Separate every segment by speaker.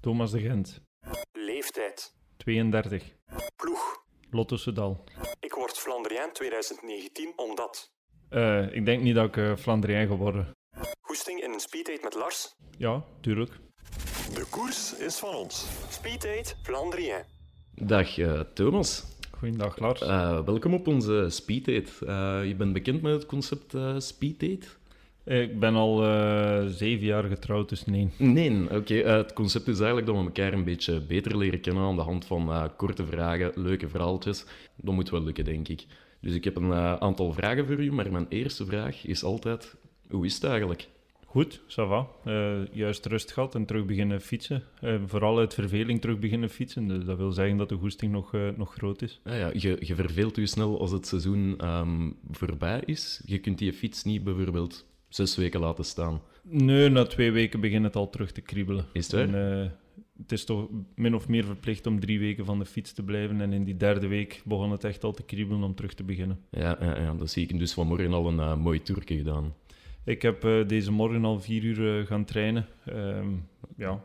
Speaker 1: Thomas de Gent,
Speaker 2: Leeftijd.
Speaker 1: 32.
Speaker 2: Ploeg.
Speaker 1: Lotto Sedal.
Speaker 2: Ik word Flandriaan 2019 omdat.
Speaker 1: Eh, ik denk niet dat ik eh Flandrien geworden.
Speaker 2: Goesting in een speeddate met Lars.
Speaker 1: Ja, tuurlijk.
Speaker 2: De koers is van ons. Speeddate Flandriaan.
Speaker 3: Dag eh, Thomas.
Speaker 1: Goeiedag, Lars.
Speaker 3: Eh, welkom op onze speeddate. Eh, je bent bekend met het concept eh speeddate?
Speaker 1: ik ben al eh, zeven jaar getrouwd, dus nee.
Speaker 3: Nee, oké. eh, het concept is eigenlijk dat we elkaar een beetje beter leren kennen aan de hand van eh, korte vragen, leuke verhaaltjes. Dat moet wel lukken, denk ik. Dus ik heb een eh, aantal vragen voor u, maar mijn eerste vraag is altijd: hoe is het eigenlijk?
Speaker 1: Goed, ça va. Eh, juist rust gehad en terug beginnen fietsen. Eh, vooral uit verveling terug beginnen fietsen. Dus dat wil zeggen dat de goesting nog, eh, nog groot is.
Speaker 3: Ah ja, je, je verveelt u snel als het seizoen ehm, voorbij is. Je kunt die fiets niet bijvoorbeeld zes weken laten staan.
Speaker 1: Nee, na twee weken begint het al terug te kriebelen.
Speaker 3: Is het waar?
Speaker 1: En, eh, het is toch min of meer verplicht om drie weken van de fiets te blijven. En in die derde week begon het echt al te kriebelen om terug te beginnen.
Speaker 3: Ja, ja, ja, dat zie ik dus vanmorgen al een eh, mooi toerke gedaan.
Speaker 1: Ik heb eh, deze morgen al vier uur eh, gaan trainen. Ehm, ja,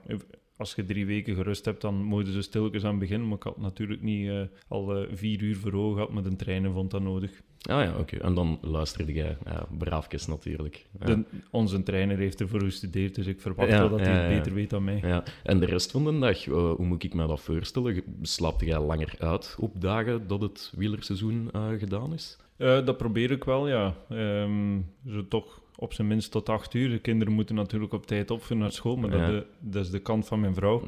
Speaker 1: als je drie weken gerust hebt, dan moet je er stilletjes aan beginnen. Maar ik had natuurlijk niet eh, al eh, vier uur voor ogen gehad met een trainen, vond dat nodig.
Speaker 3: Ah ja, oké. En dan luisterde jij. Ja, braafjes natuurlijk. Ja.
Speaker 1: De- onze trainer heeft ervoor gestudeerd, dus ik verwacht
Speaker 3: Ja,
Speaker 1: wel dat hij
Speaker 3: ja,
Speaker 1: het
Speaker 3: ja.
Speaker 1: beter weet dan mij.
Speaker 3: Ja. En de rest van de dag, eh, hoe moet ik me dat voorstellen? Je- Slaapt jij langer uit op dagen dat het wielerseizoen eh, gedaan is?
Speaker 1: Eh, dat probeer ik wel, ja. Ehm, zo toch op zijn minst tot acht uur. De kinderen moeten natuurlijk op tijd op voor naar school, maar
Speaker 3: Ja.
Speaker 1: dat, de- dat is de kant van mijn vrouw.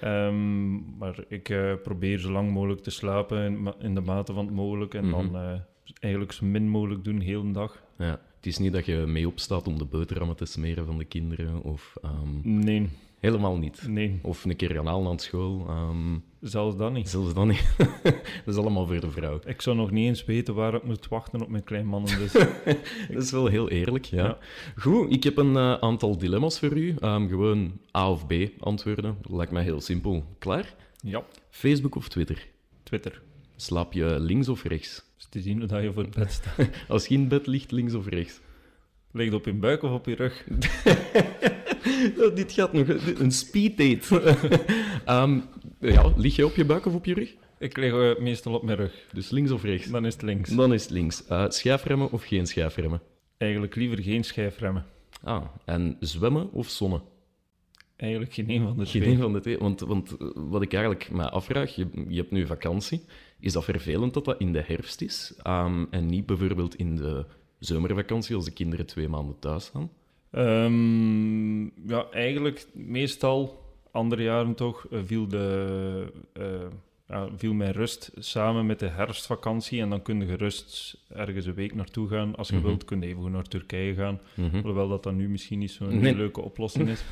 Speaker 1: Ehm, maar ik eh, probeer zo lang mogelijk te slapen in, ma- in de mate van het mogelijk. En dan eh, eigenlijk zo min mogelijk doen, heel de dag.
Speaker 3: Ja. Het is niet dat je mee opstaat om de boterhammen te smeren van de kinderen, of ehm,
Speaker 1: Nee,
Speaker 3: helemaal niet.
Speaker 1: nee,
Speaker 3: Of een keer gaan halen aan school. ehm,
Speaker 1: zelfs dat niet.
Speaker 3: zelfs dan niet. dat is allemaal voor de vrouw.
Speaker 1: Ik zou nog niet eens weten waar ik moet wachten op mijn kleinmannen. Dus
Speaker 3: Dat is wel heel eerlijk, ja.
Speaker 1: Ja.
Speaker 3: Goed, ik heb een eh, aantal dilemma's voor u. Ehm, gewoon A of B antwoorden. Lijkt mij heel simpel. Klaar?
Speaker 1: ja,
Speaker 3: Facebook of Twitter?
Speaker 1: Twitter.
Speaker 3: Slaap je links of rechts?
Speaker 1: Is te zien hoe dat je voor het bed staat.
Speaker 3: Als je in bed ligt, links of rechts?
Speaker 1: Ligt op je buik of op je rug?
Speaker 3: Oh, dit gaat nog dit- een speeddate. Ehm ja, lig je op je buik of op je rug?
Speaker 1: Ik lig eh, meestal op mijn rug.
Speaker 3: Dus links of rechts?
Speaker 1: Dan is het links.
Speaker 3: Dan is het links. Eh schijfremmen of geen schijfremmen?
Speaker 1: Eigenlijk liever geen schijfremmen.
Speaker 3: Ah, en zwemmen of zonnen?
Speaker 1: Eigenlijk geen een van de
Speaker 3: Geen
Speaker 1: twee.
Speaker 3: een van de twee. Want, want eh, wat ik eigenlijk me afvraag, je, je hebt nu vakantie. Is dat vervelend dat dat in de herfst is? Ehm, en niet bijvoorbeeld in de zomervakantie, als de kinderen twee maanden thuis staan?
Speaker 1: Ehm, ja, eigenlijk meestal, andere jaren toch, eh, viel, de, eh, ja, viel mijn rust samen met de herfstvakantie. En dan kun je gerust ergens een week naartoe gaan. Als je
Speaker 3: Mhm.
Speaker 1: wilt, kun je evengoed naar Turkije gaan. Hoewel dat dan nu misschien niet zo'n
Speaker 3: Nee.
Speaker 1: leuke oplossing is.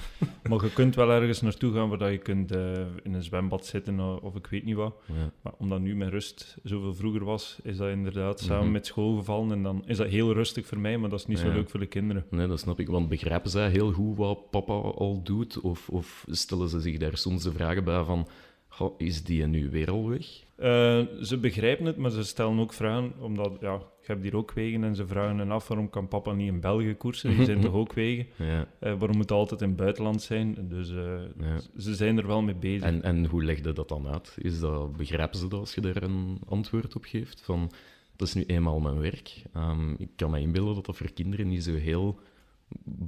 Speaker 1: maar je kunt wel ergens naartoe gaan waar dat je kunt eh, in een zwembad zitten eh, of ik weet niet wat.
Speaker 3: Ja.
Speaker 1: Maar omdat nu mijn rust zoveel vroeger was, is dat inderdaad samen met school gevallen. En dan is dat heel rustig voor mij, maar dat is niet zo
Speaker 3: Mhm. Ja.
Speaker 1: leuk voor de kinderen.
Speaker 3: Nee, dat snap ik. Want begrijpen zij heel goed wat papa al doet? Of, of stellen ze zich daar soms de vragen bij van... "Goh, is die nu weer al weg?
Speaker 1: Eh, ze begrijpen het, maar ze stellen ook vragen, omdat ja, je hebt hier ook wegen en ze vragen hen af waarom kan papa niet in België koersen? Hier zijn toch ook wegen?
Speaker 3: Ja.
Speaker 1: Eh, waarom moet het altijd in het buitenland zijn? Dus eh,
Speaker 3: Ja.
Speaker 1: z- ze zijn er wel mee bezig.
Speaker 3: En, en hoe legde dat dan uit? Is dat, begrijpen ze dat als je daar een antwoord op geeft? Van, dat is nu eenmaal mijn werk. Ehm, ik kan me inbeelden dat dat voor kinderen niet zo heel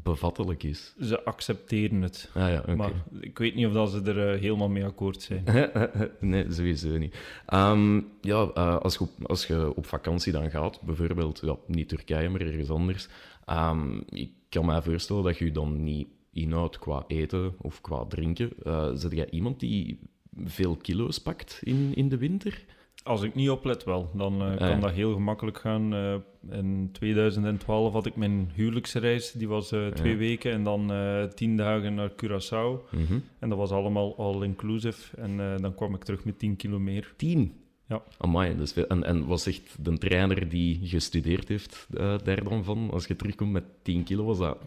Speaker 3: bevattelijk is.
Speaker 1: Ze accepteren het.
Speaker 3: Ah ja, oké.
Speaker 1: Maar ik weet niet of dat ze er eh, helemaal mee akkoord zijn.
Speaker 3: nee, sowieso niet. Ehm, ja, eh, als, je op, als je op vakantie dan gaat, bijvoorbeeld, ja, niet Turkije, maar ergens anders, ehm, ik kan me voorstellen dat je je dan niet inhoudt qua eten of qua drinken. Eh zet jij iemand die veel kilo's pakt in, in de winter?
Speaker 1: Als ik niet oplet wel, dan eh, kan
Speaker 3: Ah, ja.
Speaker 1: dat heel gemakkelijk gaan. Eh, in 2012 had ik mijn huwelijksreis, die was eh, twee weken, en dan eh, tien dagen naar Curaçao. En dat was allemaal all-inclusive. En eh, dan kwam ik terug met 10 kilo meer.
Speaker 3: Tien.
Speaker 1: Ja.
Speaker 3: Amai, dat is veel. En, en was echt de trainer die gestudeerd heeft eh, daar dan van? Als je terugkomt met 10 kilo, was dat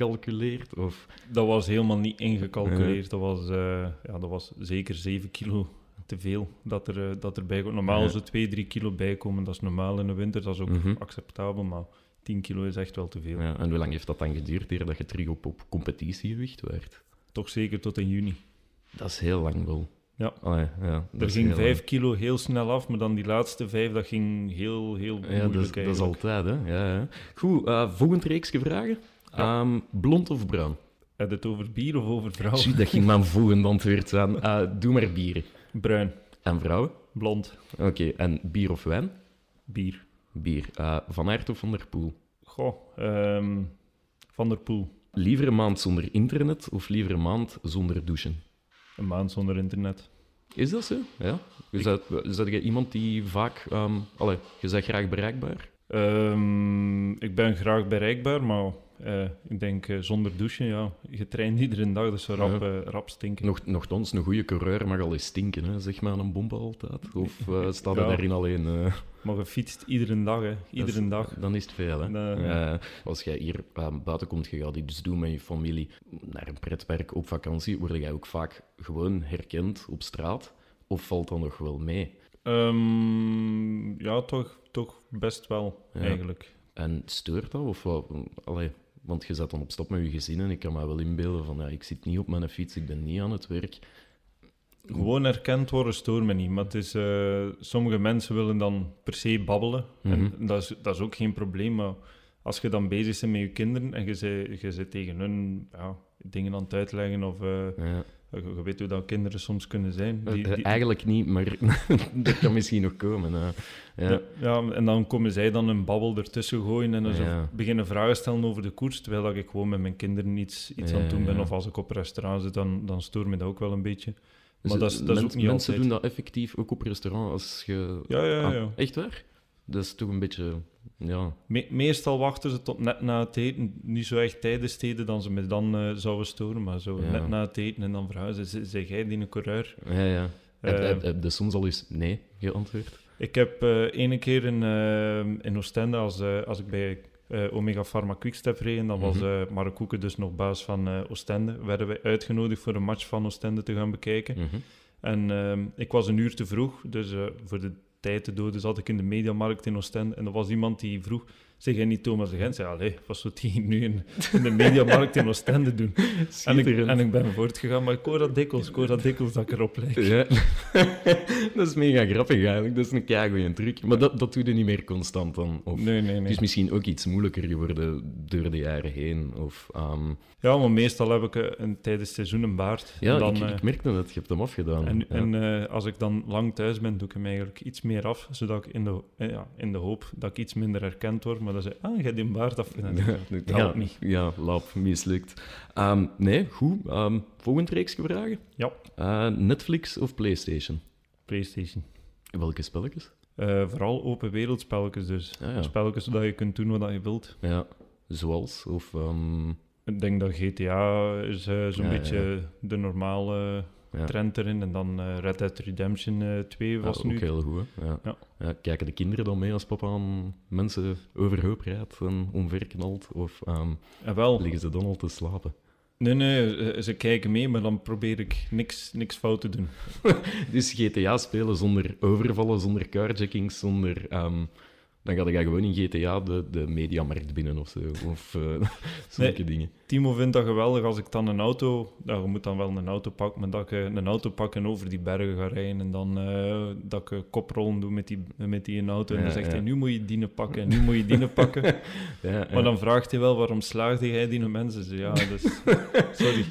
Speaker 3: ingecalculeerd? Of...
Speaker 1: Dat was helemaal niet ingecalculeerd. Dat, was, eh, ja, dat was zeker 7 kilo te veel dat, er, eh, dat erbij komt. Normaal
Speaker 3: Ja. Mhm.
Speaker 1: als er 2, 3 kilo bij komen, dat is normaal in de winter, dat is ook acceptabel. Maar 10 kilo is echt wel te veel.
Speaker 3: Ja, en hoe lang heeft dat dan geduurd eer dat je terug op, op competitiegewicht werd?
Speaker 1: Toch zeker tot in juni.
Speaker 3: Dat is heel lang wel.
Speaker 1: Ja.
Speaker 3: Allee, ja dat
Speaker 1: Er
Speaker 3: is
Speaker 1: ging
Speaker 3: heel
Speaker 1: 5 kilo heel snel af, maar dan die laatste 5, dat ging heel, heel
Speaker 3: lang. Ja,
Speaker 1: moeilijk
Speaker 3: dat is, dat is
Speaker 1: eigenlijk.
Speaker 3: altijd, hè. Ja, ja. Goed, eh, volgend reeksje vragen.
Speaker 1: Ja.
Speaker 3: Ehm, blond of bruin?
Speaker 1: Heb je het over bier of over vrouwen?
Speaker 3: Zie, dat ging mijn volgende antwoord zijn. Eh, doe maar bier.
Speaker 1: Bruin,
Speaker 3: En vrouwen?
Speaker 1: blond,
Speaker 3: Oké, en bier of wijn?
Speaker 1: bier.
Speaker 3: Bier. Eh, van Aert of Van der Poel?
Speaker 1: Goh, ehm, Van der Poel.
Speaker 3: Liever een maand zonder internet of liever een maand zonder douchen?
Speaker 1: Een maand zonder internet.
Speaker 3: Is dat zo? Ja. Je bent- bent jij iemand die vaak... ehm allee, je bent graag bereikbaar?
Speaker 1: Ehm, ik ben graag bereikbaar, maar eh, ik denk eh, zonder douchen, ja. Je traint iedere dag, dus zo rap, eh, rap stinken.
Speaker 3: Nog, nogthans, een goede coureur mag al eens stinken, hè? zeg maar, aan een bomba altijd. Of eh staat hij
Speaker 1: Ja.
Speaker 3: daarin alleen? eh?
Speaker 1: Maar je fietst iedere dag, hè.
Speaker 3: Dat is-
Speaker 1: Iedere dag.
Speaker 3: Dan is het veel, hè?
Speaker 1: Nee.
Speaker 3: Eh, als jij hier eh, buiten komt, je gaat iets doen met je familie naar een pretpark op vakantie, word jij ook vaak gewoon herkend op straat? Of valt dat nog wel mee?
Speaker 1: Ehm, ja, toch, toch best wel,
Speaker 3: Ja.
Speaker 1: eigenlijk.
Speaker 3: En steurt dat? Of wat? Allee, want je zat dan op stap met je gezin en ik kan me wel inbeelden van ja, ik zit niet op mijn fiets, ik ben niet aan het werk.
Speaker 1: Gewoon erkend worden stoort me niet. Maar het is, eh, sommige mensen willen dan per se babbelen.
Speaker 3: Mhm.
Speaker 1: En dat is, dat is ook geen probleem. Maar als je dan bezig bent met je kinderen en je zit, je zit tegen hun ja, dingen aan het uitleggen of... eh,
Speaker 3: Ja.
Speaker 1: je, je weet hoe dat kinderen soms kunnen zijn. Die-
Speaker 3: Eh,
Speaker 1: die-
Speaker 3: Eigenlijk niet, maar dat kan misschien nog komen. hè.
Speaker 1: Ja.
Speaker 3: ja.
Speaker 1: en dan komen zij dan een babbel ertussen gooien en dan zo
Speaker 3: Ja.
Speaker 1: beginnen vragen stellen over de koers, terwijl dat ik gewoon met mijn kinderen iets, iets aan het doen ben.
Speaker 3: Ja.
Speaker 1: Of als ik op restaurant zit, dan, dan stoor me dat ook wel een beetje. Maar
Speaker 3: Dus
Speaker 1: dat is,
Speaker 3: het-
Speaker 1: dat is
Speaker 3: men-
Speaker 1: ook niet
Speaker 3: Mensen
Speaker 1: altijd.
Speaker 3: doen dat effectief ook op restaurant als je...
Speaker 1: Ja, ja, ja.
Speaker 3: Ah, echt waar? Dat is toch een beetje... Ja.
Speaker 1: Me- meestal wachten ze tot net na het eten, niet zo echt tijdens het eten, dan ze me dan eh, zouden storen, maar zo
Speaker 3: Ja.
Speaker 1: net na het eten en dan vragen ze, "Z- zeg jij die een coureur?
Speaker 3: ja, ja. Heb,
Speaker 1: Eh,
Speaker 3: heb, heb je soms al eens nee geantwoord?
Speaker 1: Ik heb eh ene keer in, eh, in Oostende, als, eh, als ik bij eh, Omega Pharma Quickstep reed, en dan was
Speaker 3: Mhm.
Speaker 1: eh Mark Koeken dus nog baas van eh, Oostende, werden wij uitgenodigd voor een match van Oostende te gaan bekijken.
Speaker 3: Mhm.
Speaker 1: En ehm, ik was een uur te vroeg, dus eh, voor de tijd te doden zat ik in de mediamarkt in Oostende. En er was iemand die vroeg, zeg jij niet Thomas de Gent? Ik zei, allee, wat zou die hier nu in, in de mediamarkt in Oostende doen? En ik,
Speaker 3: Schitterend.
Speaker 1: en ik ben voortgegaan, maar ik hoor dat dikwijls, ik hoor dat dikwijls dat ik erop lijk.
Speaker 3: Ja. Dus, dat is mega grappig eigenlijk. Dat is een keigoeie truc. Maar dat, dat doe je niet meer constant dan. Of...
Speaker 1: Nee, nee,
Speaker 3: Het
Speaker 1: nee.
Speaker 3: is misschien ook iets moeilijker geworden door de jaren heen. Of, ehm,
Speaker 1: Ja, maar meestal heb ik eh, een, tijdens het seizoen een baard.
Speaker 3: Ja,
Speaker 1: En dan,
Speaker 3: ik,
Speaker 1: eh,
Speaker 3: ik merkte dat. Je hebt hem afgedaan.
Speaker 1: En,
Speaker 3: Ja.
Speaker 1: en eh, als ik dan lang thuis ben, doe ik hem eigenlijk iets meer af, zodat ik in de, eh, ja, in de hoop dat ik iets minder herkend word, maar dat ze, ah, jij hebt die baard af. En dan- dat
Speaker 3: ja,
Speaker 1: helpt niet.
Speaker 3: Ja, lap, mislukt. Ehm, nee, goed. Ehm volgend reeksje vragen.
Speaker 1: Ja,
Speaker 3: Eh, Netflix of PlayStation?
Speaker 1: PlayStation.
Speaker 3: Welke spelletjes?
Speaker 1: Eh, vooral open wereldspelletjes dus.
Speaker 3: Ah, ja.
Speaker 1: Spelletjes zodat je kunt doen wat je wilt.
Speaker 3: ja, zoals? Of, ehm,
Speaker 1: Ik denk dat GTA is eh, zo'n
Speaker 3: Ja, ja,
Speaker 1: beetje de normale
Speaker 3: Ja.
Speaker 1: trend erin. En dan eh, Red Dead Redemption eh, 2 was
Speaker 3: ah,
Speaker 1: nu.
Speaker 3: ook heel goed. Hè? Ja.
Speaker 1: Ja.
Speaker 3: Ja, kijken de kinderen dan mee als papa aan mensen overhoop rijdt en omverknalt? Of ehm,
Speaker 1: En wel,
Speaker 3: liggen ze dan al te slapen?
Speaker 1: nee, nee, eh, ze kijken mee, maar dan probeer ik niks, niks fout te doen.
Speaker 3: Dus GTA spelen zonder overvallen, zonder carjackings, zonder... ehm, dan ga je gewoon in GTA de, de mediamarkt binnen of zo. Of eh, zulke
Speaker 1: Nee.
Speaker 3: dingen.
Speaker 1: Timo vindt dat geweldig als ik dan een auto... Nou, je moet dan wel een auto pakken, maar dat ik eh, een auto pak en over die bergen ga rijden. En dan eh, dat ik eh, koprollen doe met die, met die auto. En
Speaker 3: Ja,
Speaker 1: dan zegt
Speaker 3: ja.
Speaker 1: hij, nu moet je dienen pakken en nu moet je dienen pakken.
Speaker 3: Ja, ja.
Speaker 1: Maar dan vraagt hij wel, waarom slaagde jij die mensen? Ze, Ja, dus... Sorry,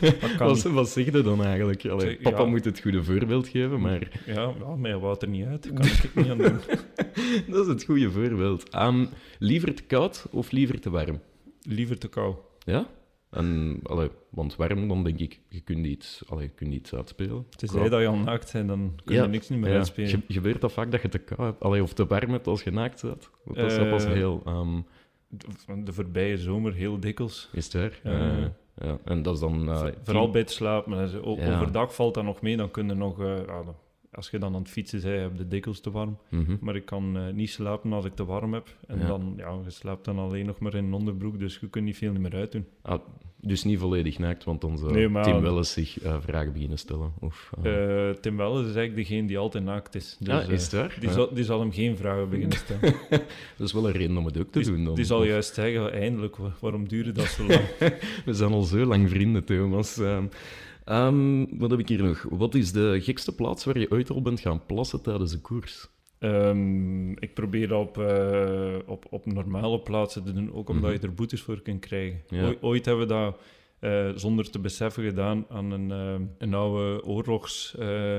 Speaker 1: dat kan
Speaker 3: Wat,
Speaker 1: niet.
Speaker 3: wat zeg je dan eigenlijk? Allee,
Speaker 1: Zeg,
Speaker 3: papa
Speaker 1: ja.
Speaker 3: moet het goede voorbeeld geven, maar
Speaker 1: Ja, ja, mij wou het er niet uit. Daar kan ik het niet aan doen.
Speaker 3: dat is het goede voorbeeld. Ehm, liever te koud of liever te warm?
Speaker 1: Liever te kou.
Speaker 3: Ja? En, allee, want warm, dan denk ik, je kunt iets, allee, je kunt iets uitspelen.
Speaker 1: Tenzij dat je al naakt bent, dan kun je niks niet meer
Speaker 3: ja.
Speaker 1: uitspelen.
Speaker 3: Ge- gebeurt dat vaak dat je te koud hebt, allee, of te warm hebt als je naakt zat? Want Dat is
Speaker 1: Eh.
Speaker 3: pas heel... ehm,
Speaker 1: De- De voorbije zomer heel dikwijls.
Speaker 3: is het waar?
Speaker 1: Ja, ja, ja.
Speaker 3: Eh, ja. En dat is dan... eh,
Speaker 1: Vo- Vooral bij het slapen. hè. Zo, o-
Speaker 3: Ja.
Speaker 1: Overdag valt dat nog mee, dan kun je nog... eh, ja, dan- als je dan aan het fietsen bent, heb je de dikwijls te warm.
Speaker 3: mhm.
Speaker 1: Maar ik kan eh, niet slapen als ik te warm heb. En
Speaker 3: Ja.
Speaker 1: dan, ja, je slaapt dan alleen nog maar in een onderbroek, dus je kunt niet veel meer uitdoen.
Speaker 3: Ah, dus niet volledig naakt, want dan zou
Speaker 1: Nee, maar-
Speaker 3: Tim wel eens zich eh, vragen beginnen stellen. Of, eh,
Speaker 1: Eh, Tim Welles is eigenlijk degene die altijd naakt is. Dus,
Speaker 3: ah, is
Speaker 1: eh,
Speaker 3: het waar?
Speaker 1: die,
Speaker 3: Ja.
Speaker 1: zal, die zal hem geen vragen beginnen stellen.
Speaker 3: Dat is wel een reden om het ook te doen.
Speaker 1: die,
Speaker 3: Dan.
Speaker 1: die zal juist zeggen, eindelijk, wa- waarom duurde dat zo lang?
Speaker 3: We zijn al zo lang vrienden, Thomas. Ehm, ehm, Ehm, wat heb ik hier nog? Wat is de gekste plaats waar je ooit al bent gaan plassen tijdens een koers?
Speaker 1: Ehm, ik probeer dat op, eh, op, op normale plaatsen te doen, ook omdat
Speaker 3: Mhm.
Speaker 1: je er boetes voor kunt krijgen.
Speaker 3: Ja.
Speaker 1: Ooi- ooit hebben we dat eh, zonder te beseffen gedaan aan een, eh, een oude oorlogs, eh,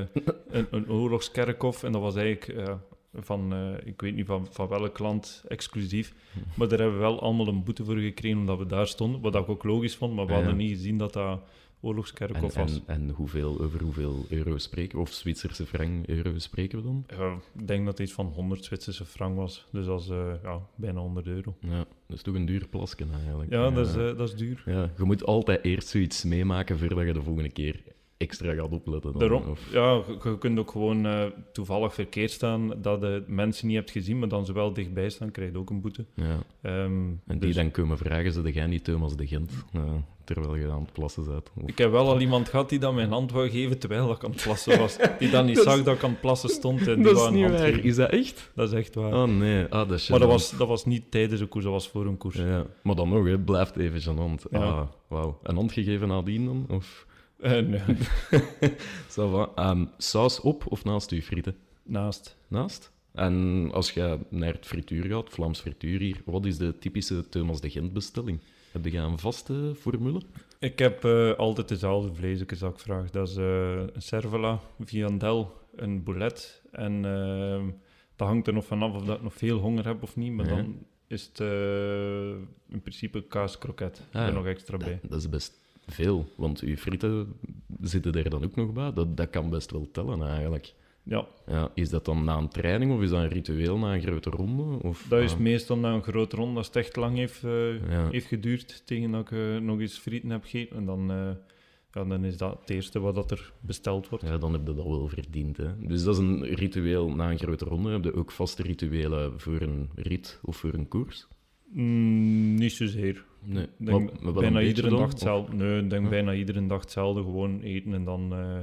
Speaker 1: een, een oorlogskerkhof. En dat was eigenlijk eh, van, eh, ik weet niet van, van welk land, exclusief. Maar daar hebben we wel allemaal een boete voor gekregen omdat we daar stonden. Wat ik ook logisch vond, maar we
Speaker 3: Ja.
Speaker 1: hadden niet gezien dat dat
Speaker 3: En,
Speaker 1: oorlogskerkhof was.
Speaker 3: en, en hoeveel, over hoeveel euro spreken we? Of Zwitserse frank euro spreken we dan?
Speaker 1: Ja, ik denk dat het iets van 100 Zwitserse frank was. Dus dat is eh, ja, bijna 100 euro.
Speaker 3: Ja, dat is toch een duur plasken eigenlijk.
Speaker 1: Ja, dat is, eh, dat is duur.
Speaker 3: Ja, je moet altijd eerst zoiets meemaken voordat je de volgende keer extra gaat opletten. dan,
Speaker 1: Daarom,
Speaker 3: of-
Speaker 1: ja, je- je kunt ook gewoon eh, toevallig verkeerd staan dat de mensen niet hebt gezien, maar dan ze wel dichtbij staan, krijg je ook een boete.
Speaker 3: ja.
Speaker 1: Ehm,
Speaker 3: En die
Speaker 1: dus-
Speaker 3: dan komen vragen, ze jij niet Thomas de Gent? Ja, terwijl je aan het plassen bent. Of-
Speaker 1: Ik heb wel al iemand gehad die dan mijn hand wou geven terwijl ik aan het plassen was. Die dan niet
Speaker 3: Dat is-
Speaker 1: zag dat ik aan het plassen stond en die wou een hand geven.
Speaker 3: Is dat echt?
Speaker 1: Dat is echt waar.
Speaker 3: Oh nee, ah, dat is
Speaker 1: maar dat
Speaker 3: gênant.
Speaker 1: was, dat was niet tijdens een koers, dat was voor een koers.
Speaker 3: Ja, maar dan nog, hè, blijft even gênant.
Speaker 1: Ja.
Speaker 3: Ah, wauw. Een hand gegeven nadien dan? Of...
Speaker 1: Eh, nee,
Speaker 3: Ça va. Ehm, saus op of naast uw frieten?
Speaker 1: naast.
Speaker 3: Naast. En als je naar het frituur gaat, Vlaams frituur hier, wat is de typische Thomas de Gent bestelling? Heb je een vaste formule?
Speaker 1: Ik heb eh, altijd dezelfde vleesjes dat ik vraag. Dat is eh, een cervela, viandel, een boulet. En ehm, dat hangt er nog vanaf of dat ik nog veel honger heb of niet. Maar
Speaker 3: Ja.
Speaker 1: dan is het eh, in principe kaaskroket
Speaker 3: Ah,
Speaker 1: er
Speaker 3: ja.
Speaker 1: nog extra bij.
Speaker 3: Dat is best veel, want uw frieten zitten er dan ook nog bij. Dat, dat kan best wel tellen eigenlijk.
Speaker 1: Ja,
Speaker 3: Ja, is dat dan na een training of is dat een ritueel na een grote ronde? Of,
Speaker 1: dat is
Speaker 3: ah,
Speaker 1: meestal na een grote ronde. Als het echt lang heeft, eh,
Speaker 3: Ja.
Speaker 1: heeft geduurd tegen dat ik eh, nog eens frieten heb gegeten. En dan, eh, ja, dan is dat het eerste wat dat er besteld wordt.
Speaker 3: Ja, dan heb je dat wel verdiend. Hè? Dus dat is een ritueel na een grote ronde. Heb je ook vaste rituelen voor een rit of voor een koers?
Speaker 1: Mm, niet zozeer.
Speaker 3: Nee.
Speaker 1: Ik Denk,
Speaker 3: Maar- maar wel een
Speaker 1: bijna
Speaker 3: beetje
Speaker 1: iedere
Speaker 3: dan,
Speaker 1: dag
Speaker 3: of-
Speaker 1: hetzelfde. Nee, ik denk
Speaker 3: Ja.
Speaker 1: bijna iedere dag hetzelfde. Gewoon eten en dan eh,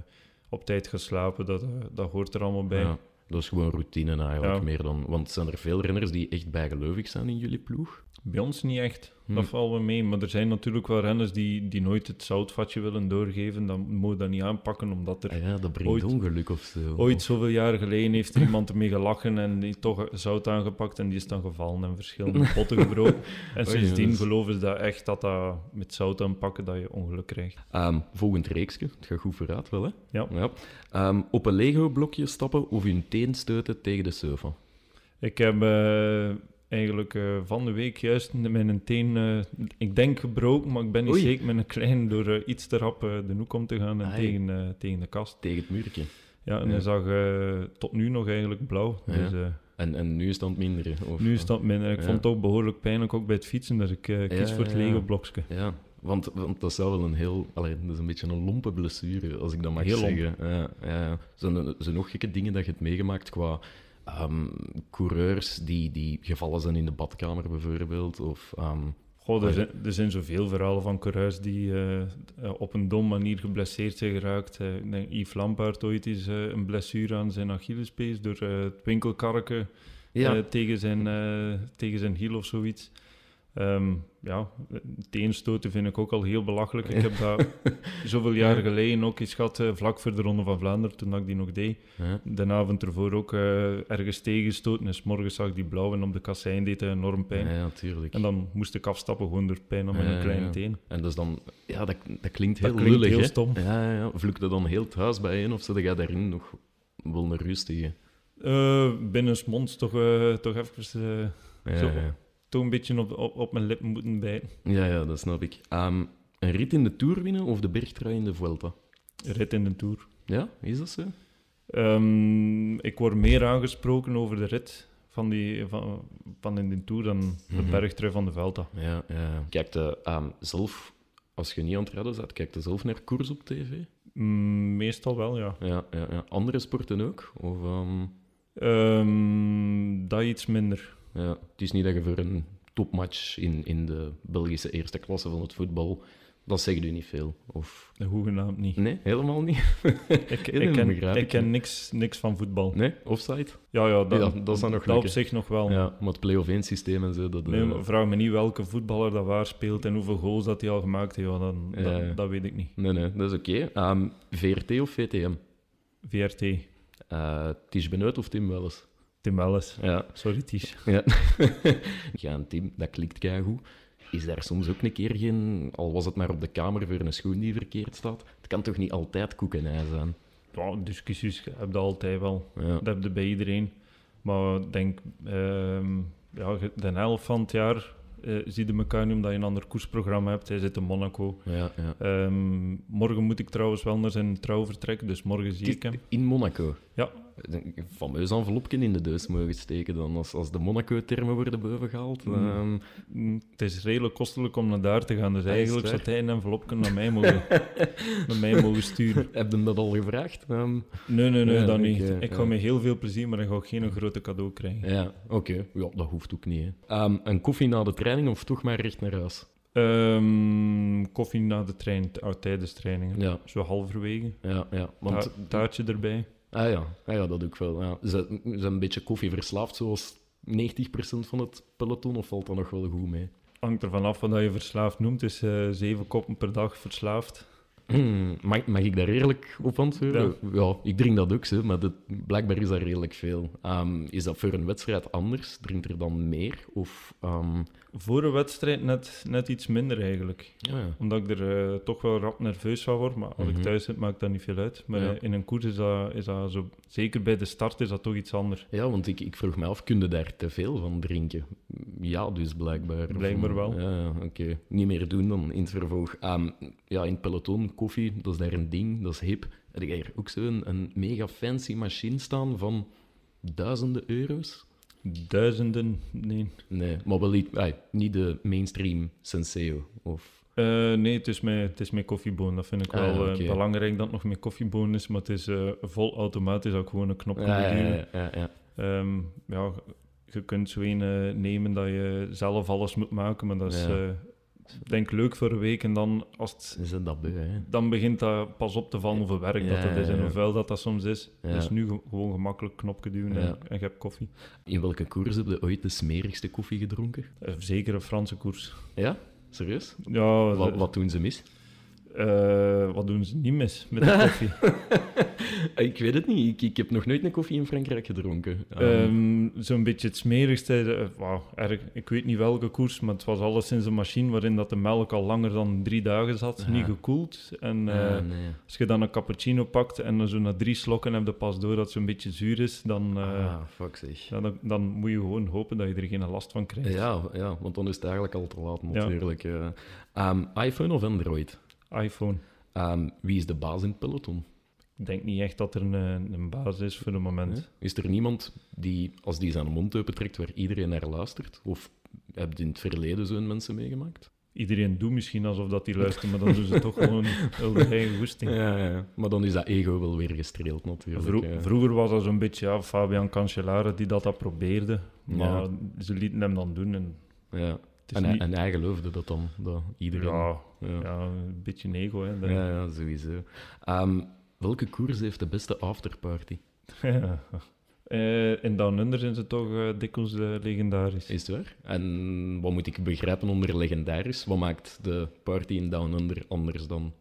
Speaker 1: op tijd geslapen. Dat, eh, dat hoort er allemaal bij.
Speaker 3: Ja, dat is gewoon routine eigenlijk
Speaker 1: Ja.
Speaker 3: meer dan. Want zijn er veel renners die echt bijgelovig zijn in jullie ploeg?
Speaker 1: Bij ons niet echt.
Speaker 3: Hm.
Speaker 1: Dat valt wel mee. Maar er zijn natuurlijk wel renners die, die nooit het zoutvatje willen doorgeven. Dan moet je dat niet aanpakken, omdat er
Speaker 3: Ah ja, dat brengt
Speaker 1: Ooit-
Speaker 3: ongeluk of zo.
Speaker 1: ooit zoveel jaren geleden heeft er iemand ermee gelachen en die toch zout aangepakt en die is dan gevallen en verschillende potten gebroken. En
Speaker 3: Oei, dus-
Speaker 1: sindsdien
Speaker 3: dat is-
Speaker 1: geloven ze dat echt dat dat met zout aanpakken dat je ongeluk krijgt.
Speaker 3: Ehm, volgend reeksje, het gaat goed vooruit wel hè?
Speaker 1: Ja.
Speaker 3: Ehm, op een Lego-blokje stappen of hun teen stoten tegen de sofa?
Speaker 1: Ik heb eh, eigenlijk eh, van de week juist mijn teen, eh, ik denk gebroken, maar ik ben niet
Speaker 3: Oei.
Speaker 1: zeker, met een klein door eh, iets te rap eh, de hoek om te gaan en
Speaker 3: Ai.
Speaker 1: tegen, eh, tegen de kast.
Speaker 3: Tegen het muurtje.
Speaker 1: Ja, en
Speaker 3: Ja.
Speaker 1: hij zag eh, tot nu nog eigenlijk blauw.
Speaker 3: Ja.
Speaker 1: Dus eh,
Speaker 3: En, en nu is dat minder. hè? Of,
Speaker 1: nu is dat minder. Ik
Speaker 3: Ja.
Speaker 1: vond het ook behoorlijk pijnlijk, ook bij het fietsen, dus ik eh, kies voor het
Speaker 3: ja, ja.
Speaker 1: Lego-blokje.
Speaker 3: Ja, want, want dat zou wel een heel... Allee, dat is een beetje een lompe blessure, als ik dat mag
Speaker 1: Heel lomp.
Speaker 3: zeggen. Ja, ja, ja. Zijn, er- zijn nog gekke dingen dat je hebt meegemaakt qua ehm, coureurs die, die gevallen zijn in de badkamer bijvoorbeeld? Of, ehm,
Speaker 1: Goh, er,
Speaker 3: Ja.
Speaker 1: zijn, er zijn zoveel verhalen van coureurs die eh, eh, op een dom manier geblesseerd zijn geraakt. Eh, ik denk Yves Lampaard ooit is eh, een blessure aan zijn Achillespees door eh, het winkelkarken
Speaker 3: ja,
Speaker 1: eh, tegen, zijn, eh, tegen zijn hiel of zoiets. Ehm ja, teenstoten vind ik ook al heel belachelijk. Ik heb dat zoveel jaren geleden ook eens gehad, eh, vlak voor de Ronde van Vlaanderen, toen dat ik die nog deed.
Speaker 3: ja.
Speaker 1: De avond ervoor ook eh, ergens tegengestoten. En 's morgens zag ik die blauw en op de kassein deed hij enorm pijn.
Speaker 3: Ja, ja, tuurlijk.
Speaker 1: En dan moest ik afstappen gewoon door pijn aan mijn
Speaker 3: Ja, ja,
Speaker 1: kleine
Speaker 3: ja.
Speaker 1: teen.
Speaker 3: En dat is dan... Ja, dat, dat klinkt heel
Speaker 1: Dat klinkt
Speaker 3: lullig,
Speaker 1: heel
Speaker 3: hè?
Speaker 1: stom.
Speaker 3: Ja, ja, ja. Vloekt dat dan heel het huis bijeen of zet jij daarin nog wel een rustige...
Speaker 1: Eh binnensmonds toch, eh, toch even eh, Zo. toch een beetje op, op, op mijn lippen moeten bijten.
Speaker 3: Ja, ja, dat snap ik. Ehm, een rit in de Tour winnen of de bergtrui in de Vuelta?
Speaker 1: Rit in de Tour.
Speaker 3: Ja, is dat zo?
Speaker 1: Ehm, ik word meer aangesproken over de rit van, die, van, van in de Tour dan de
Speaker 3: Mhm.
Speaker 1: bergtrui van de Velta.
Speaker 3: Ja, ja. Kijk je ehm, zelf, als je niet aan het redden zat, kijk je zelf naar koers op tv?
Speaker 1: Mm, meestal wel, ja.
Speaker 3: Ja, ja, ja. Andere sporten ook? Of, ehm,
Speaker 1: Ehm, dat iets minder.
Speaker 3: ja. Het is niet dat je voor een topmatch in, in de Belgische eerste klasse van het voetbal Dat zegt u niet veel. Of...
Speaker 1: Hoegenaamd niet.
Speaker 3: Nee, helemaal niet.
Speaker 1: Ik,
Speaker 3: nee,
Speaker 1: ik ken,
Speaker 3: begrijp
Speaker 1: ik
Speaker 3: ik.
Speaker 1: ken niks, niks van voetbal.
Speaker 3: Nee, offside.
Speaker 1: Ja, ja, dat,
Speaker 3: Ja, dat is dan nog
Speaker 1: dat op
Speaker 3: lukken.
Speaker 1: zich nog wel.
Speaker 3: Ja, maar het play-off 1 systeem en zo, dat... eh,
Speaker 1: Nee, maar vraag me niet welke voetballer dat waar speelt en hoeveel goals dat hij al gemaakt heeft. want dan,
Speaker 3: Ja, ja.
Speaker 1: dat, dat weet ik niet.
Speaker 3: nee, nee, dat is oké. Ehm, VRT of VTM?
Speaker 1: VRT,
Speaker 3: Eh Ties Benoot of Tim Welles?
Speaker 1: Tim Welles.
Speaker 3: Ja.
Speaker 1: Sorry, Ties.
Speaker 3: ja. ja, en Tim, dat klikt keigoed. Is daar soms ook een keer geen... Al was het maar op de kamer voor een schoen die verkeerd staat. Het kan toch niet altijd koek en ei zijn?
Speaker 1: Ja, discussies heb je altijd wel.
Speaker 3: Ja.
Speaker 1: Dat heb je bij iedereen. Maar ik denk, ehm, ja, ge- de helft van het jaar eh zie je elkaar nu omdat je een ander koersprogramma hebt. Hij zit in Monaco.
Speaker 3: Ja, ja.
Speaker 1: Ehm, morgen moet ik trouwens wel naar zijn trouw vertrekken, dus morgen zie ik hem.
Speaker 3: In Monaco.
Speaker 1: Ja,
Speaker 3: Een fameus envelopje in de deus mogen steken dan. Als, als de Monaco-termen worden bovengehaald.
Speaker 1: Hmm.
Speaker 3: ehm,
Speaker 1: Mm, Het is redelijk kostelijk om naar daar te gaan. Dus
Speaker 3: is
Speaker 1: eigenlijk
Speaker 3: waar.
Speaker 1: zou hij een envelopje naar mij mogen, naar mij mogen sturen.
Speaker 3: heb je hem dat al gevraagd? Ehm,
Speaker 1: Nee, nee, nee,
Speaker 3: Ja,
Speaker 1: dat
Speaker 3: ik,
Speaker 1: niet.
Speaker 3: eh,
Speaker 1: ik ga
Speaker 3: ja.
Speaker 1: met heel veel plezier, maar ik ga geen grote cadeau krijgen.
Speaker 3: ja, oké. Ja, dat hoeft ook niet. Hè. Ehm, een koffie na de training of toch maar recht naar huis?
Speaker 1: Ehm, koffie na de trein, t- oh, tijdens trainingen.
Speaker 3: Ja,
Speaker 1: Zo halverwege.
Speaker 3: ja, ja. Want,
Speaker 1: Want taartje erbij.
Speaker 3: ah, ja, ah, ja, dat ook wel. Ja. Ze ze zijn een beetje koffieverslaafd, zoals 90% van het peloton, of valt dat nog wel goed mee?
Speaker 1: Hangt ervan af wat je verslaafd noemt. Het is eh, zeven koppen per dag verslaafd.
Speaker 3: Hmm, mag, mag ik daar eerlijk op antwoorden? Ja, ik drink dat ook, hè, maar dat, blijkbaar is dat redelijk veel. Ehm, is dat voor een wedstrijd anders? Drinkt er dan meer? Of, ehm,
Speaker 1: Voor een wedstrijd net, net iets minder eigenlijk.
Speaker 3: ja, ja.
Speaker 1: Omdat ik er eh, toch wel rap nerveus van word. Maar als
Speaker 3: Mhm.
Speaker 1: ik thuis zit, maakt dat niet veel uit. Maar
Speaker 3: Ja.
Speaker 1: eh, in een koers is dat, is dat zo... Zeker bij de start is dat toch iets anders.
Speaker 3: Ja, want ik, ik vroeg me af, kun je daar te veel van drinken? Ja, dus blijkbaar. Of-
Speaker 1: Blijkbaar wel.
Speaker 3: Ja, ja, oké. Niet meer doen dan in het vervolg. Ehm, ja, in het peloton, koffie, dat is daar een ding, dat is hip. Heb jij hier ook zo'n een mega fancy machine staan van duizenden euro's?
Speaker 1: Duizenden... Nee.
Speaker 3: Nee, maar wel niet, ai, niet de mainstream Senseo. Of...
Speaker 1: Eh, nee, het is, met, het is met koffieboon. Dat vind ik
Speaker 3: Ah,
Speaker 1: wel eh,
Speaker 3: oké.
Speaker 1: belangrijk dat het nog met koffieboon is. Maar het is eh, vol automatisch dat ik gewoon een knop kan
Speaker 3: Ja, ja,
Speaker 1: duwen.
Speaker 3: ja, ja, ja.
Speaker 1: Ehm, ja, je kunt zo een eh, nemen dat je zelf alles moet maken. Maar dat is,
Speaker 3: Ja.
Speaker 1: eh, denk ik, leuk voor een week. En dan, als het,
Speaker 3: Ze zijn dat beu, hè?
Speaker 1: dan begint dat pas op te vallen hoeveel werk
Speaker 3: Ja,
Speaker 1: dat het is
Speaker 3: ja,
Speaker 1: en
Speaker 3: ja.
Speaker 1: hoe vuil dat dat soms is.
Speaker 3: Ja.
Speaker 1: Dus nu ge- gewoon gemakkelijk knopje duwen en,
Speaker 3: Ja.
Speaker 1: en je hebt koffie.
Speaker 3: In welke koers heb je ooit de smerigste koffie gedronken?
Speaker 1: Eh, Zeker een Franse koers.
Speaker 3: Ja? Serieus?
Speaker 1: Ja,
Speaker 3: Wat,
Speaker 1: eh,
Speaker 3: wat doen ze mis?
Speaker 1: eh, wat doen ze niet mis met de koffie?
Speaker 3: Eh, Ik weet het niet. Ik, ik heb nog nooit een koffie in Frankrijk gedronken. Ehm,
Speaker 1: Ehm, Zo'n beetje het smerigste. eh, wauw, erg, ik weet niet welke koers, maar het was alleszins een machine waarin dat de melk al langer dan drie dagen zat,
Speaker 3: Ja.
Speaker 1: niet gekoeld. En eh,
Speaker 3: ah, nee.
Speaker 1: als je dan een cappuccino pakt en dan zo na drie slokken heb je pas door dat ze een beetje zuur is, dan, eh,
Speaker 3: ah, fuck zeg.
Speaker 1: ja, dan, dan moet je gewoon hopen dat je er geen last van krijgt.
Speaker 3: Ja, ja, want dan is het eigenlijk al te laat
Speaker 1: Ja.
Speaker 3: natuurlijk. eh. Ehm, iPhone of Android?
Speaker 1: iPhone.
Speaker 3: Ehm, wie is de baas in het peloton?
Speaker 1: Ik denk niet echt dat er een, eh, een baas is voor het moment.
Speaker 3: Is er niemand die, als die zijn mond open trekt, waar iedereen naar luistert? Of heb je in het verleden zo'n mensen meegemaakt?
Speaker 1: Iedereen doet misschien alsof dat die luistert, maar dan doen ze toch gewoon hun eigen goesting.
Speaker 3: Ja, ja, ja. Maar dan is dat ego wel weer gestreeld natuurlijk.
Speaker 1: Vro-
Speaker 3: eh.
Speaker 1: vroeger was dat zo'n beetje ja, Fabian Cancellara die dat, dat probeerde. Maar
Speaker 3: Ja.
Speaker 1: ze lieten hem dan doen. En
Speaker 3: ja.
Speaker 1: het is
Speaker 3: En, hij-
Speaker 1: niet...
Speaker 3: en hij geloofde dat dan, dat iedereen...
Speaker 1: ja,
Speaker 3: ja.
Speaker 1: ja, een beetje een ego. Hè. Dat-
Speaker 3: Ja, ja, sowieso. Ehm, welke koers heeft de beste afterparty?
Speaker 1: Eh, in Down Under zijn ze toch eh, dikwijls eh, legendarisch.
Speaker 3: Is het waar? En wat moet ik begrijpen onder legendarisch? Wat maakt de party in Down Under anders dan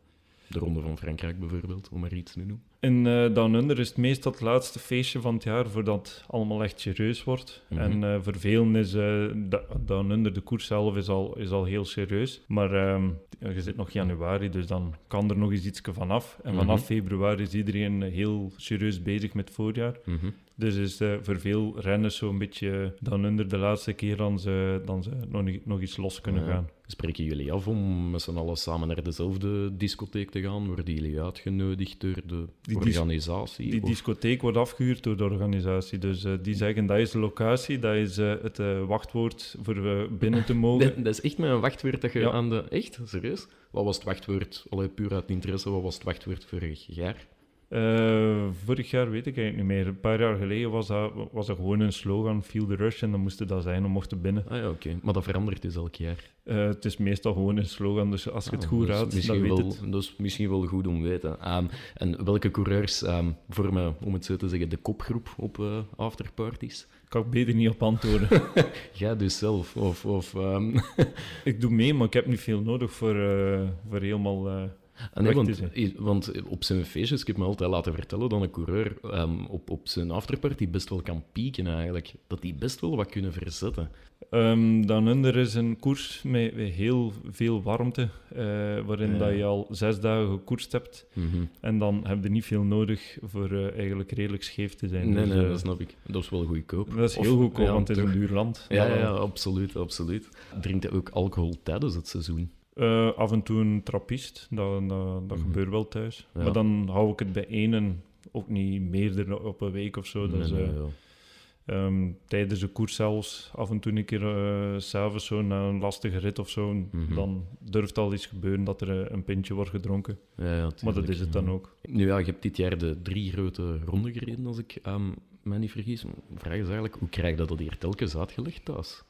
Speaker 3: de Ronde van Frankrijk bijvoorbeeld, om maar iets te noemen?
Speaker 1: In eh Down Under is het meestal het laatste feestje van het jaar voordat het allemaal echt serieus wordt.
Speaker 3: Mhm.
Speaker 1: En eh voor velen is eh, Da- Down Under, de koers zelf, is al, is al heel serieus. Maar ehm, ja, je zit nog januari, dus dan kan er nog eens iets vanaf. En vanaf
Speaker 3: Mhm.
Speaker 1: februari is iedereen eh, heel serieus bezig met het voorjaar.
Speaker 3: Mhm.
Speaker 1: Dus is eh, voor veel renners zo'n beetje Down Under de laatste keer dan ze, dan ze nog, niet- nog iets los kunnen
Speaker 3: Ja.
Speaker 1: gaan.
Speaker 3: Eh, Spreken jullie af om met z'n allen samen naar dezelfde discotheek te gaan? Worden jullie uitgenodigd door de
Speaker 1: Die dis-
Speaker 3: organisatie?
Speaker 1: Die
Speaker 3: Of-
Speaker 1: discotheek wordt afgehuurd door de organisatie. Dus eh, die zeggen dat is de locatie, dat is eh, het eh, wachtwoord voor eh, binnen te mogen.
Speaker 3: dat, dat is echt met een wachtwoord dat je
Speaker 1: Ja.
Speaker 3: aan de... Echt? Serieus? Wat was het wachtwoord? Allee, puur uit interesse, wat was het wachtwoord vorig jaar?
Speaker 1: Eh, vorig jaar weet ik eigenlijk niet meer. Een paar jaar geleden was dat, was dat gewoon een slogan, Feel the Rush, en dan moest het dat zijn om mocht te binnen.
Speaker 3: Ah ja, oké. Maar dat verandert dus elk jaar.
Speaker 1: Eh, het is meestal gewoon een slogan, dus als je het
Speaker 3: Ah,
Speaker 1: goed
Speaker 3: dat is
Speaker 1: raadt, dan
Speaker 3: misschien
Speaker 1: weet
Speaker 3: wel,
Speaker 1: het.
Speaker 3: Dat is misschien wel goed om te weten. Ehm, en welke coureurs ehm, vormen, om het zo te zeggen, de kopgroep op eh, afterparties?
Speaker 1: Kan ik beter niet op antwoorden.
Speaker 3: Jij dus zelf? Of, of, ehm,
Speaker 1: ik doe mee, maar ik heb niet veel nodig voor, eh, voor helemaal... eh,
Speaker 3: Ah, Nee,
Speaker 1: Wacht
Speaker 3: want, i- want op zijn feestjes, ik heb me altijd laten vertellen dat een coureur ehm, op, op zijn afterparty best wel kan pieken eigenlijk. Dat die best wel wat kunnen verzetten.
Speaker 1: Ehm dan Under is een koers met, met heel veel warmte, eh, waarin
Speaker 3: Ja.
Speaker 1: dat je al zes dagen gekoerst hebt.
Speaker 3: Mhm.
Speaker 1: En dan heb je niet veel nodig voor eh, eigenlijk redelijk scheef te zijn.
Speaker 3: Nee,
Speaker 1: Dus,
Speaker 3: nee,
Speaker 1: eh,
Speaker 3: dat snap ik. Dat is wel goedkoop.
Speaker 1: dat is
Speaker 3: Of-
Speaker 1: heel goedkoop,
Speaker 3: ja,
Speaker 1: want het is
Speaker 3: toch.
Speaker 1: een duur land.
Speaker 3: Ja, ja,
Speaker 1: Maar,
Speaker 3: ja, absoluut, absoluut. Drinkt hij ook alcohol tijdens het seizoen?
Speaker 1: eh, af en toe een trappist, dat, dat, dat gebeurt wel thuis.
Speaker 3: Mhm. Ja.
Speaker 1: Maar dan hou ik het bij één en ook niet meerdere op een week of zo. Dat is,
Speaker 3: Nee, nee,
Speaker 1: eh,
Speaker 3: ja.
Speaker 1: ehm, tijdens de koers zelfs, af en toe een keer eh, s s'avonds zo na een lastige rit of zo,
Speaker 3: Mhm.
Speaker 1: dan durft al iets gebeuren dat er eh, een pintje wordt gedronken.
Speaker 3: Ja, ja,
Speaker 1: Maar dat
Speaker 3: tuurlijk,
Speaker 1: is het
Speaker 3: ja.
Speaker 1: dan ook.
Speaker 3: Nu ja, je hebt dit jaar de drie grote ronden gereden, als ik ehm mij niet vergis. De vraag is eigenlijk, hoe krijg je dat hier telkens uitgelegd thuis?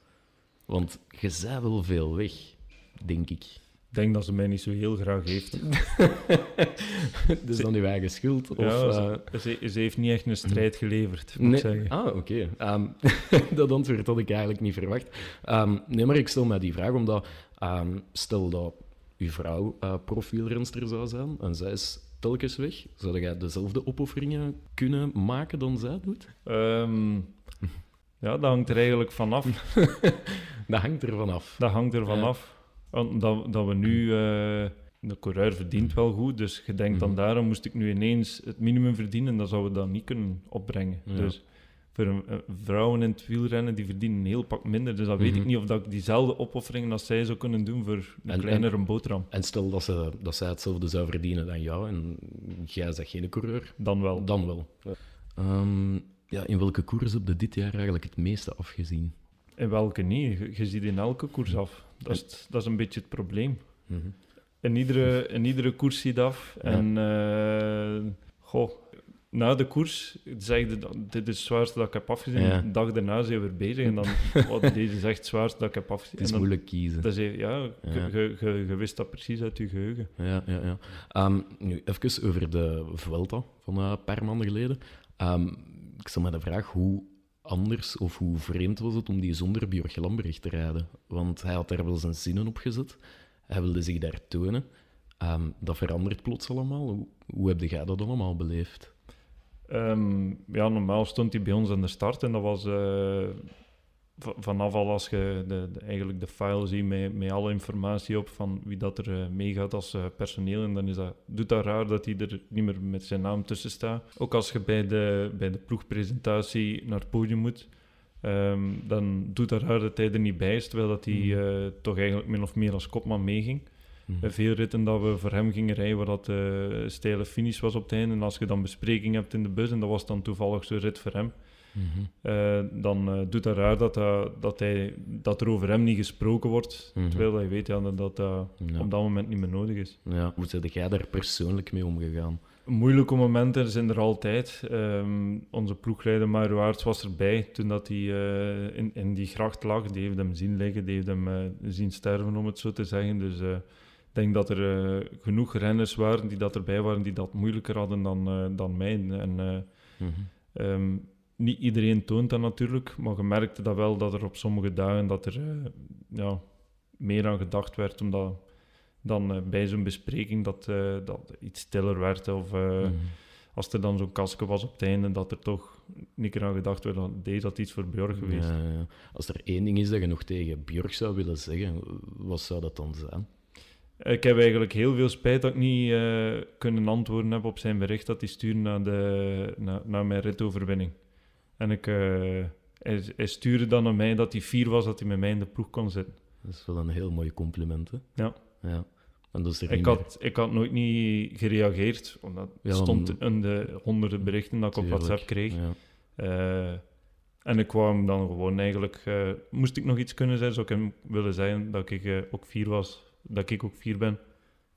Speaker 3: Want je zei wel veel weg, denk ik.
Speaker 1: Ik denk dat ze mij niet zo heel graag heeft.
Speaker 3: Dus dan uw eigen schuld? Of,
Speaker 1: ja,
Speaker 3: eh,
Speaker 1: ze- ze, ze heeft niet echt een strijd geleverd, moet
Speaker 3: nee.
Speaker 1: ik zeggen.
Speaker 3: Ah, oké. Ehm, dat antwoord had ik eigenlijk niet verwacht. Ehm, nee, maar ik stel mij die vraag omdat, ehm, stel dat uw vrouw eh profielrenster zou zijn en zij is telkens weg, zou jij dezelfde opofferingen kunnen maken dan zij doet?
Speaker 1: Ehm, ja, dat hangt er eigenlijk vanaf.
Speaker 3: Dat hangt ervan af.
Speaker 1: Dat hangt er
Speaker 3: Ja.
Speaker 1: vanaf. Want Dat, dat we nu... eh, de coureur verdient wel goed, dus je denkt
Speaker 3: Mhm.
Speaker 1: dan daarom moest ik nu ineens het minimum verdienen, dan zouden we dat niet kunnen opbrengen.
Speaker 3: Ja.
Speaker 1: Dus voor een- eh, vrouwen in het wielrennen, die verdienen een heel pak minder. Dus dan weet
Speaker 3: Mhm.
Speaker 1: ik niet of dat ik diezelfde opoffering als zij zou kunnen doen voor een
Speaker 3: en-
Speaker 1: kleinere boterham.
Speaker 3: En stel dat, ze, dat zij hetzelfde zou verdienen dan jou en jij zegt geen coureur,
Speaker 1: Dan wel.
Speaker 3: dan wel. Ehm, ja, in welke koers heb je dit jaar eigenlijk het meeste afgezien?
Speaker 1: En welke niet? Je, je ziet in elke koers af. Dat is, het- dat is een beetje het probleem. In iedere, in iedere koers ziet af. En eh, goh, na de koers zeg je, dan, dit is het zwaarste dat ik heb afgezien.
Speaker 3: Ja.
Speaker 1: De dag daarna zijn we weer bezig en dan, oh, deze is echt het zwaarste dat ik heb afgezien.
Speaker 3: Het is
Speaker 1: En dan-
Speaker 3: moeilijk kiezen.
Speaker 1: dat is, ja,
Speaker 3: Ja.
Speaker 1: je- je- je- je wist dat precies uit je geheugen.
Speaker 3: Ja, ja, ja. Ehm, nu, even over de Vuelta van eh, een paar maanden geleden. Ehm, ik stel me de vraag, hoe anders of hoe vreemd was het om die zonder Björk Lambrecht te rijden? Want hij had daar wel zijn zinnen op gezet. Hij wilde zich daar tonen. Ehm, dat verandert plots allemaal. Hoe, hoe heb jij dat allemaal beleefd?
Speaker 1: Ehm, ja, normaal stond hij bij ons aan de start en dat was eh, v- vanaf al als je de, de- eigenlijk de file ziet met, met alle informatie op van wie dat er eh, meegaat als eh, personeel. En dan is dat, doet dat raar dat hij er niet meer met zijn naam tussen staat. Ook als je bij de, bij de ploegpresentatie naar het podium moet, ehm, dan doet dat raar dat hij er niet bij is, terwijl dat hij eh, toch eigenlijk min of meer als kopman meeging. Bij veel ritten dat we voor hem gingen rijden, waar dat eh, een steile finish was op het einde. En als je dan bespreking hebt in de bus, en dat was dan toevallig zo'n rit voor hem, eh, dan eh, doet dat raar dat, dat, dat, hij, dat er over hem niet gesproken wordt.
Speaker 3: Mhm.
Speaker 1: Terwijl hij weet ja, dat dat eh,
Speaker 3: Ja.
Speaker 1: op dat moment niet meer nodig is.
Speaker 3: Ja. Hoe ben jij daar persoonlijk mee omgegaan?
Speaker 1: Moeilijke momenten zijn er altijd. Ehm, onze ploegleider Mario Aerts was erbij toen dat hij eh, in, in die gracht lag. Die heeft hem zien liggen, die heeft hem eh, zien sterven, om het zo te zeggen. Dus eh, ik denk dat er eh, genoeg renners waren die dat erbij waren, die dat moeilijker hadden dan, eh, dan mij. En, eh, ehm, niet iedereen toont dat natuurlijk, maar je merkte dat wel dat er op sommige dagen dat er eh, ja, meer aan gedacht werd, omdat dan eh, bij zo'n bespreking dat, eh, dat iets stiller werd. Of eh,
Speaker 3: Mhm.
Speaker 1: als er dan zo'n kasken was op het einde, dat er toch niet keer aan gedacht werd dat deed dat iets voor Björk geweest.
Speaker 3: Ja, ja. Als er één ding is dat je nog tegen Björk zou willen zeggen, wat zou dat dan zijn?
Speaker 1: Eh, Ik heb eigenlijk heel veel spijt dat ik niet eh, kunnen antwoorden heb op zijn bericht dat hij stuurde naar, de, naar, naar mijn ritoverwinning. En ik, eh, hij, hij stuurde dan naar mij dat hij fier was dat hij met mij in de ploeg kon zitten.
Speaker 3: Dat is wel een heel mooi compliment, hè?
Speaker 1: Ja.
Speaker 3: ja. En dat is er
Speaker 1: Ik
Speaker 3: niet
Speaker 1: had, ik had nooit niet gereageerd, omdat
Speaker 3: Ja,
Speaker 1: het stond
Speaker 3: om-
Speaker 1: in de honderden berichten dat ik op
Speaker 3: Tuurlijk,
Speaker 1: WhatsApp kreeg.
Speaker 3: meer. Ja.
Speaker 1: Eh, en ik kwam dan gewoon eigenlijk... eh, moest ik nog iets kunnen zijn, zou ik hem willen zeggen dat ik eh, ook vier was, dat ik ook vier ben.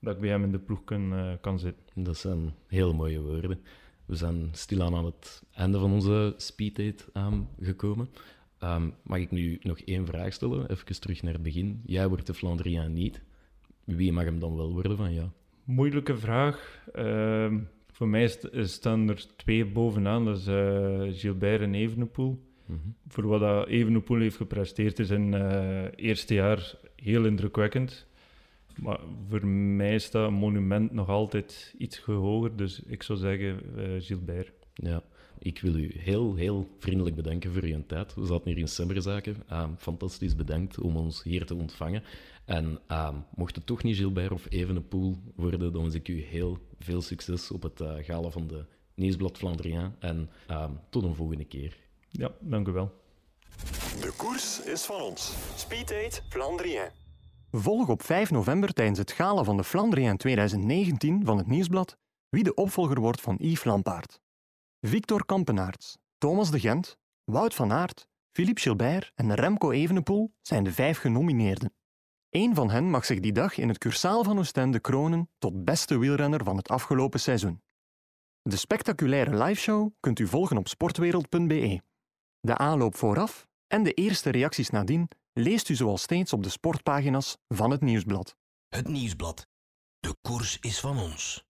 Speaker 1: dat ik bij hem in de ploeg kan, eh, kan zitten.
Speaker 3: Dat zijn heel mooie woorden. We zijn stilaan aan het einde van onze speeddate ehm, gekomen. Ehm, mag ik nu nog één vraag stellen? Even terug naar het begin. Jij wordt de Flandriaan niet. Wie mag hem dan wel worden van jou?
Speaker 1: Moeilijke vraag. Ehm, voor mij st- staan er twee bovenaan. Dat is eh, Gilbert en Evenepoel.
Speaker 3: Mhm.
Speaker 1: Voor wat dat Evenepoel heeft gepresteerd is in het eerste jaar heel indrukwekkend. Maar voor mij is dat monument nog altijd iets hoger. Dus ik zou zeggen eh, Gilbert.
Speaker 3: Ja, ik wil u heel, heel vriendelijk bedanken voor uw tijd. We zaten hier in Semmerzaken. Ehm, fantastisch bedankt om ons hier te ontvangen. En ehm, mocht het toch niet Gilbert of Evenepoel worden, dan wens ik u heel veel succes op het eh, gala van de Nieuwsblad Flandriaan. En ehm, tot een volgende keer.
Speaker 1: Ja, dank u wel.
Speaker 2: De koers is van ons. Speeddate Flandrien.
Speaker 4: Volg op 5 november tijdens het gala van de Flandriaan 2019 van het Nieuwsblad wie de opvolger wordt van Yves Lampaard. Victor Kampenaerts, Thomas de Gent, Wout van Aert, Philippe Gilbert en Remco Evenepoel zijn de vijf genomineerden. Eén van hen mag zich die dag in het cursaal van Oostende kronen tot beste wielrenner van het afgelopen seizoen. De spectaculaire liveshow kunt u volgen op sportwereld.be. E. De aanloop vooraf en de eerste reacties nadien leest u zoals steeds op de sportpagina's van het nieuwsblad.
Speaker 5: Het nieuwsblad. De koers is van ons.